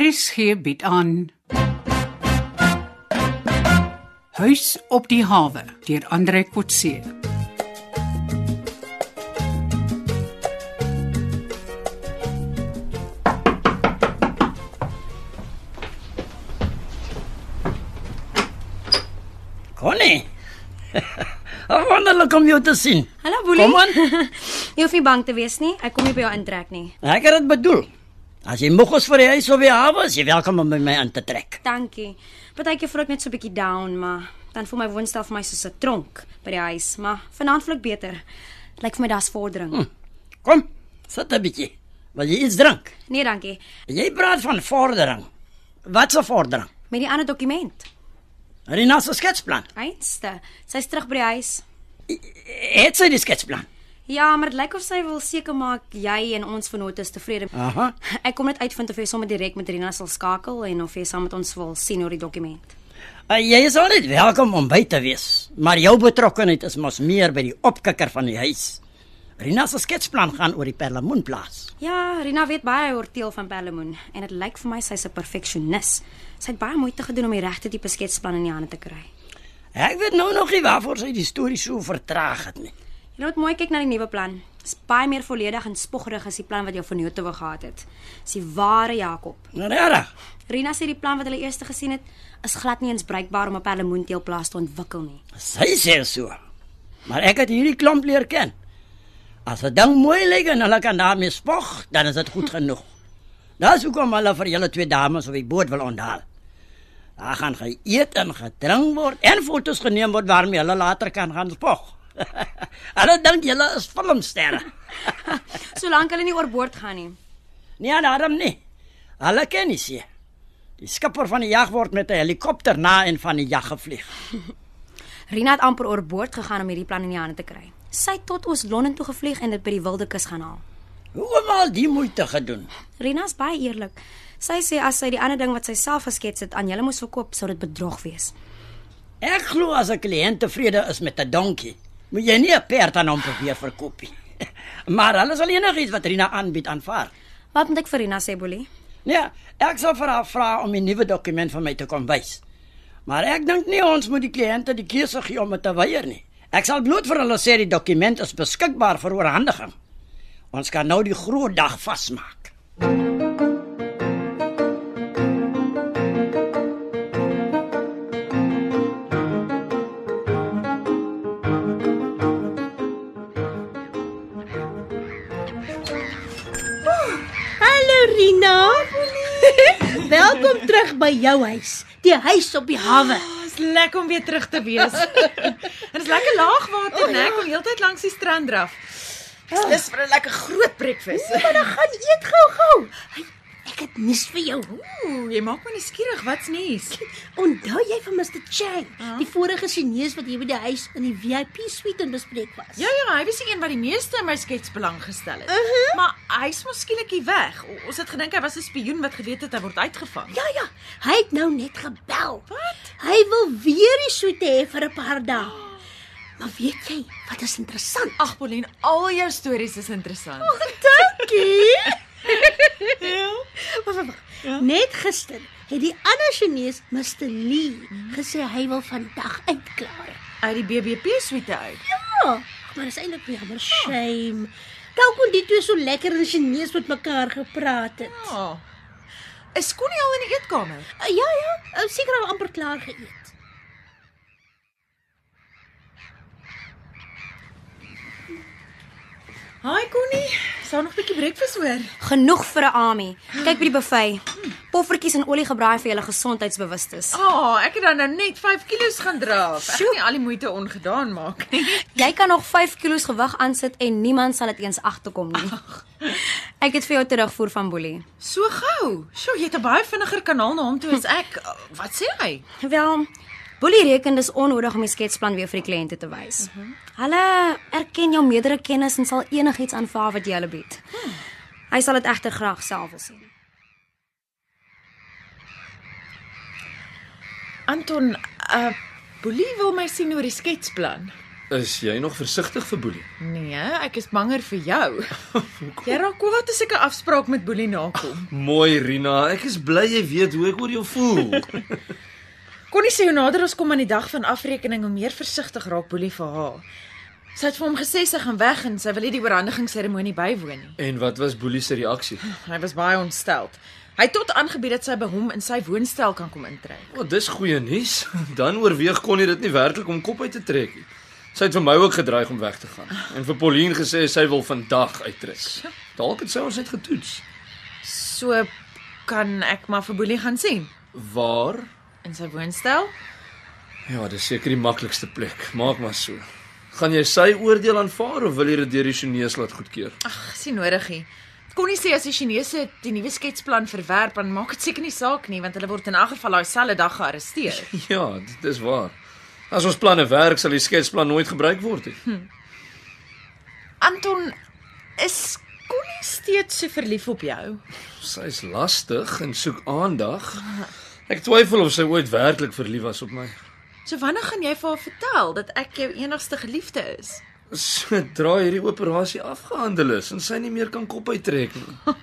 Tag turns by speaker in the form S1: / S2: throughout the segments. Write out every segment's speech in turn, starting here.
S1: RSG bied aan Huis op die hawe deur Andre Kotse.
S2: Connie. Ag wonderlik om jou te sien.
S3: Hallo Boelie.
S2: Kom aan.
S3: Jy hoef nie bang te wees nie. Ek kom nie by jou intrek nie.
S2: Ek het dit bedoel. As jy moeg is vir die huis of die hawe, is jy welkom om by my aan te trek.
S3: Dankie. Partykeer voel ek net so 'n bietjie down, maar dan voel my woonstel vir my soos 'n tronk by die huis, maar vanaand voel ek beter. Dit lyk vir my daar's vordering. Hm.
S2: Kom, sit 'n bietjie. Wil jy iets drink?
S3: Nee, dankie.
S2: Jy praat van vordering. Wat 'n vordering?
S3: Met die ander dokument.
S2: Rina se sketsplan.
S3: Einste. Sy's terug by die huis.
S2: Het sy die sketsplan?
S3: Ja, maar dit lyk of sy wil seker maak jy en ons vennote is tevrede.
S2: Aha.
S3: Ek kom net uitvind of jy sommer direk met Rina sal skakel en of jy saam met ons wil sien oor die dokument.
S2: Uh, jy is altyd welkom om by te wees, maar jou betrokkeheid is mos meer by die opkikker van die huis. Rina se sketsplan gaan oor die Perlemoenplaas.
S3: Ja, Rina weet baie oor teel van perlemoen en dit lyk vir my sy's 'n perfeksionis. Sy het baie moeite gedoen om die regte tipe sketsplan in die hande te kry.
S2: Ek weet nou nog nie waarvoor sy die storie so vertraag het nie.
S3: Jy moet mooi kyk na die nuwe plan. Dit's baie meer volledig en spoggerig as die plan wat jou vennote wou gehad het. Dis die ware Jakob.
S2: Nou regtig.
S3: Rina sê die plan wat hulle eers gesien het, is glad nie eens bruikbaar om 'n perlemoenteelplaas te ontwikkel nie.
S2: Sy sê so. Maar ek het hierdie klomp leer ken. As 'n ding mooi lyk en hulle kan daarmee spog, dan is dit goed genoeg. Dis hoekom hulle vir julle twee dames op die boot wil onthaal. Daar gaan geëet en gedrink word en fotos geneem word waarmee hulle later kan gaan spog. hulle dink julle is filmsterre.
S3: Solank hulle nie oorboord gaan nie.
S2: Nee, daarom nie. Hulle ken nie se. Die skipper van die jag word met 'n helikopter na en van die jag gevlieg.
S3: Rina het amper oorboord gegaan om hierdie plan in die hande te kry. Sy het tot Oos-London toe gevlieg en dit by die wilde kus gaan haal.
S2: Hoekom al die moeite gedoen?
S3: Rena's baie eerlik. Sy sê as sy die ander ding wat sy self geskets het aan julle moes verkoop, sou dit bedrog wees.
S2: Ek glo as 'n kliënt tevrede is met 'n donkie, moet jy nie 'n perd aan hom probeer verkoop nie. maar hulle sal enigiets wat Rina aanbied aanvaar.
S3: Wat moet ek vir Rena sê, Boelie?
S2: Nee, ek sal vir haar vra om 'n nuwe dokument vir my te kom wys. Maar ek dink nie ons moet die kliënte die keuse gee om dit te weier nie. Ek sal bloot vir hulle sê die dokument is beskikbaar vir oorhandiging. Ons kan nou die groot dag vasmaak.
S4: Hallo Rina. Welkom terug by jou huis, die huis op die hawe.
S5: Dis Ah, lekker om weer terug te wees. en dis lekker
S4: Oh,
S5: laagwater,
S4: ja.
S5: né? Ek kom heeltyd langs die strand draf. Dis vir 'n lekker groot breakfast.
S4: Ah. Ja, Maar nou. dan gaan eet gou-gou. Hey, Ek het nuus vir jou.
S5: Ooh, jy maak my nou skieurig. Wat's nuus?
S4: Onthou jy van Mr Chang, die vorige Chinese wat hier by die huis in die VIP suite in bespreek was?
S5: Ja ja, hy was die een wat die meeste in my skets belang gestel het.
S4: Mhm.
S5: Maar hy's mos skielik hier weg. O, ons het gedink hy was 'n spioen wat geweet het hy word uitgevang.
S4: Ja ja, hy het nou net gebel.
S5: Wat?
S4: Hy wil weer die suite hê vir 'n paar dae. Maar weet jy, wat is interessant?
S5: Ag, Pauline, al jou stories is interessant.
S4: Oh. Dankie. Wag, wag, wag. Net gister het die ander Chinese, Mr Lee, gesê hy wil vandag uitklaar.
S5: Uit die BBP suite uit.
S4: Ja, maar dis eintlik jammer, shame. Dalk kon die twee so lekker in Chinese met mekaar gepraat het.
S5: Ja. Is Connie al in die eetkamer?
S4: Uh, Ja ja, uh, seker al amper klaar geëet.
S5: Hi Connie, sou nog 'n bietjie breakfast hoor.
S3: Genoeg vir 'n Ami. Kyk by die buffet. Poffertjies en olie gebraai vir julle gesondheidsbewustes.
S5: O, oh, ek het dan nou net 5 kg gaan draf. Ek het nie al die moeite ongedaan maak nie.
S3: Jy kan nog 5 kg gewig aansit en niemand sal dit eens agterkom nie. Ek het vir jou terugvoer van Boelie.
S5: So gou. Sjoe, jy het 'n baie vinniger kanaal na hom toe as ek. Uh, Wat sê hy?
S3: Wel, Boelie reken dis onnodig om die sketsplan weer vir die kliënte te wys. Hulle erken jou meerdere kennis en sal enigiets aanvaar wat jy hulle bied. Hy sal dit egter graag self wil sien.
S5: eh, Anton, uh Boelie wil my sien oor die sketsplan.
S6: Is jy nog versigtig vir Boelie?
S5: Nee, ek is banger vir jou. Jy raak kwaad as ek 'n afspraak met Boelie nakom.
S6: Mooi Rina, ek is bly jy weet hoe ek oor jou voel.
S5: Connie sê hoe nader ons kom aan die dag van afrekening, hoe meer versigtig raak Boelie vir haar. Sy het vir hom gesê sy gaan weg en sy wil nie die oorhandigingsseremonie bywoon nie.
S6: en wat was Boelie se reaksie?
S5: Hy was baie ontsteld. Hy het tot aangebied dat sy by hom in sy woonstel kan kom intrek.
S6: O, oh, dis goeie nuus. Dan oorweeg kon hy dit nie werklik om kop uit te trek nie. Sy het vir my ook gedreig om weg te gaan en vir Pauline gesê sy wil vandag uittrek. Dalk het sy ons net getoets.
S5: So kan ek maar vir Boelie gaan sien
S6: Waar?
S5: in sy woonstel.
S6: Ja, dis seker die maklikste plek. Maak maar so. Gaan jy sy oordeel aanvaar of wil jy dit deur die Chinese laat goedkeur?
S5: Ag, sien nodig nie. Connie sê as die Chinese die nuwe sketsplan verwerp, dan maak dit seker nie saak nie, want hulle word in elk geval daai selfde dag gearresteer.
S6: Ja, dit is waar. As ons planne werk, sal die sketsplan nooit gebruik word nie.
S5: Anton, is Connie steeds so verlief op jou?
S6: Sy's lastig en soek aandag. Ek twyfel of sy ooit werklik verlief was op my.
S5: So wanneer gaan jy vir haar vertel dat ek jou enigste geliefde is?
S6: Sodra hierdie operasie afgehandel is en sy nie meer kan kop uittrek nie.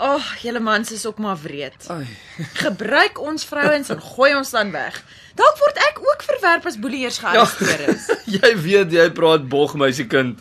S5: Ag, oh, julle mans is ook maar wreed.
S6: Ai,
S5: Gebruik ons vrouens en gooi ons dan weg. Dalk word ek ook verwerp as boelie eers gearresteer is.
S6: jy weet jy praat bog meisiekind.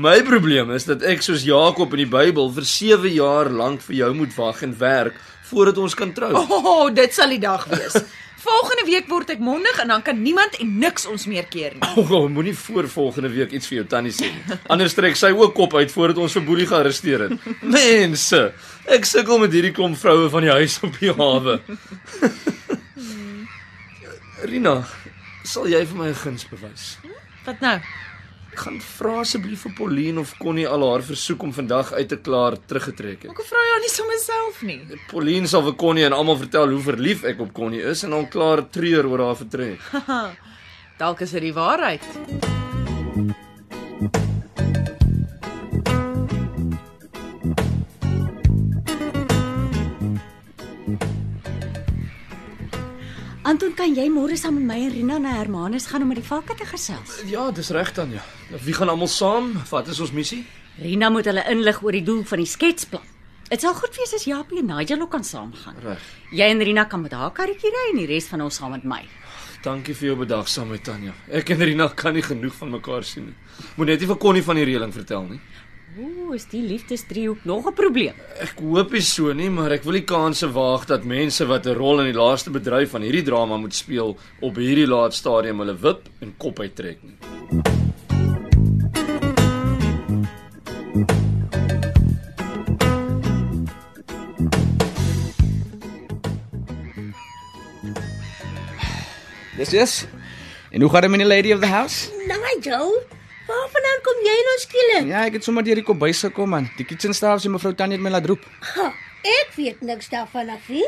S6: My probleem is dat ek soos Jakob in die Bybel vir 7 jaar lank vir jou moet wag en werk voordat ons kan trou.
S5: O, oh, dit sal die dag wees. Volgende week word ek mondig en dan kan niemand en niks ons meer keer nie.
S6: Oh, oh, moenie voor volgende week iets vir jou tannie sê nie. Anders trek sy ook kop uit voordat ons vir Boelie gearresteer het. Mense, ek sukkel met hierdie klomp vroue van die huis op die hawe. Rina, sal jy vir my 'n guns bewys?
S5: Wat nou?
S6: Ek gaan vra asseblief vir Pauline of Connie al haar versoek om vandag uit te klaar teruggetrek het.
S5: Hoekom vra jy haar nie sommer self nie?
S6: Pauline sal vir Connie en almal vertel hoe verlief ek op Connie is en al klaar treur oor haar vertrek.
S5: Dalk is dit die waarheid.
S7: Anton, kan jy môre saam met my en Rina na Hermanus gaan om met die valke te gesels?
S6: Ja, dis reg dan ja. Wie gaan almal saam? Wat is ons missie?
S7: Rina moet hulle inlig oor die doel van die sketsplan. Dit sal goed wees as Japie en Nigel ook kan saamgaan.
S6: Reg.
S7: Jy en Rina kan met haar karretjie ry en die res van ons saam met my.
S6: Dankie vir jou bedagsaamheid Tanya. Ek en Rina kan nie genoeg van mekaar sien nie. Moet net nie vir Connie van die reëling vertel nie.
S7: Ooh, is die liefdesdriehoek nog 'n probleem?
S6: Ek hoop nie so nie, maar ek wil die kanse waag dat mense wat 'n rol in die laaste bedryf van hierdie drama moet speel op hierdie laat stadium hulle wip en kop uittrek nie.
S8: Dis dis. En hoe gaan dit met die lady of the house?
S4: Nigel, Nou, waarvandaan kom jy nou skielik?
S8: Ja, ek het sommer deur die kombuis gekom man. Die kitchen staff sê mevrou Tannie het my laat roep.
S4: Ha, ek weet niks daarvan af nie.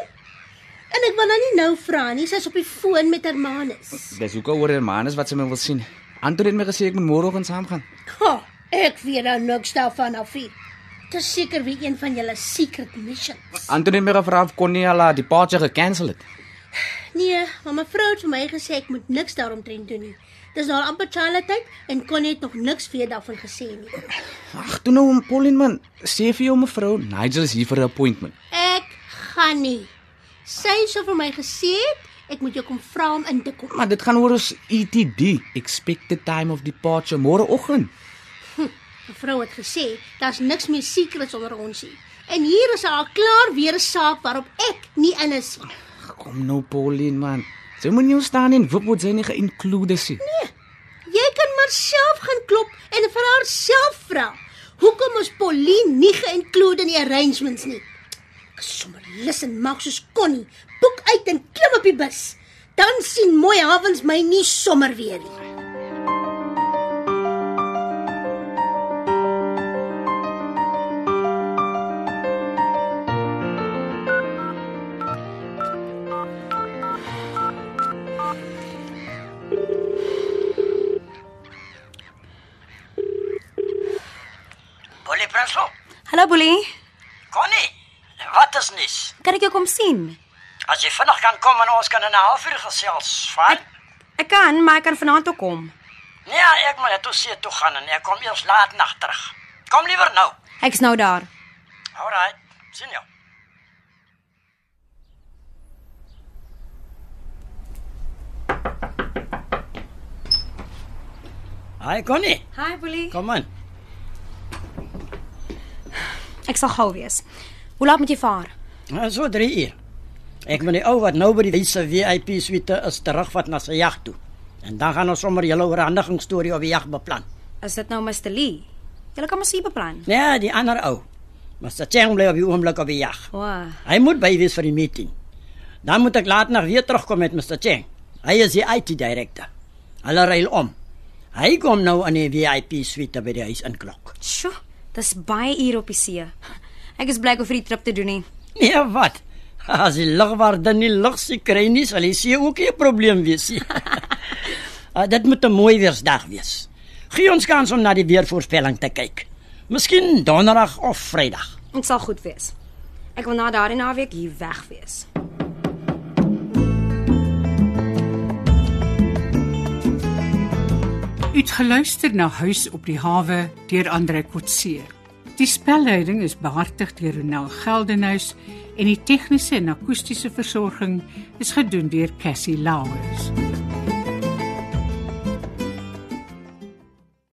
S4: En ek wil nou nie nou vra nie, sy's op die foon met haar manus.
S8: Dis hoekom oor Hermanus wat sy my wil sien. Anton het my gesê ek moet môreoggend saam gaan.
S4: Ha, ek weet nou niks daarvan af nie. Dis seker weer een van julle secret missions.
S8: Anton het my gevra of kon nie al haar departure gekansel het.
S4: Nee, maar mevrou het vir my gesê ek moet niks daaromtrent doen nie. Dis nou al amper Charlie tyd en kon net nog niks weer daarvan gesê nie.
S8: Ag, toe nou om Pauline man, sê vir jou mevrou Nigel is hier vir 'n appointment.
S4: Ek gaan nie. Sy het so vir my gesê het, ek moet jou kom vra om in te kom.
S8: Maar dit gaan oor ons ETD, expected time of departure môreoggend.
S4: Mevrou het gesê daar's niks meer secrets onder ons nie. En hier is al klaar weer 'n saak waarop ek nie in is nie.
S8: Ag, Kom nou Pauline man. Sy moet nie ontstaan en wip word sy nie geïnkludeer is. nie.
S4: Jy kan maar self gaan klop en vir haarself vra. Hoekom is Pauline nie geïnkludeer in die arrangements nie? Ek is sommer lus en maak soos Connie, boek uit en klim op die bus. Dan sien mooi Havens my nie sommer weer nie.
S2: Boelie Prinsloo,
S3: Hallo Boelie,
S2: Connie, wat is nuus?
S3: kan ek jou kom sien?
S2: As jy vinnig kan kom en ons kan in 'n halfuur gesels, fyn.
S3: Ek kan, maar ek kan vanaand ook kom.
S2: Ja, ek moet net toe see toe gaan en ek kom eers laat nag terug. Kom liewer nou.
S3: Ek's nou daar.
S2: Alraai. Sien jou. Hi Connie,
S3: Hi Boelie.
S2: kom in.
S3: Ek sal gou wees. Hoe laat moet jy vaar?
S2: Nou, So 3 uur. Ek moet die ou wat nou by die se VIP suite is terugvat na sy jag toe. En dan gaan ons sommer julle oorhandiging storie op die jag beplan.
S3: Is dit nou Mr Lee? Jy kan mos hier beplan.
S2: Ja, die ander ou. Mr Cheng bly op die oomblik op die jag.
S3: O, wow.
S2: Hy moet by wees vir die meeting. Dan moet ek laat nog weer terugkom met Mr Cheng. Hy is die IT-direkteur. Hulle ruil om. Hy kom nou aan die VIP suite by die huis inklok.
S3: sjoe, dis baie uur op die see. Ek is bly ek hoef hierdie trip te doen nie.
S2: Nee, wat? As die lugwaarde nie lug se kry nie, sal die see ook nie 'n probleem wees nie. Ah, Dit moet 'n mooi weersdag wees. Gee ons kans om na die weervoorspelling te kyk. Miskien donderdag of vrydag.
S3: Dit sal goed wees. Ek wil na daardie naweek hier weg wees.
S1: U het geluister na Huis op die hawe deur Andre Kotse. Die spelleiding is behartig deur Ronel Geldenhuys en die tegniese en akoestiese versorging is gedoen deur Cassie Lauers.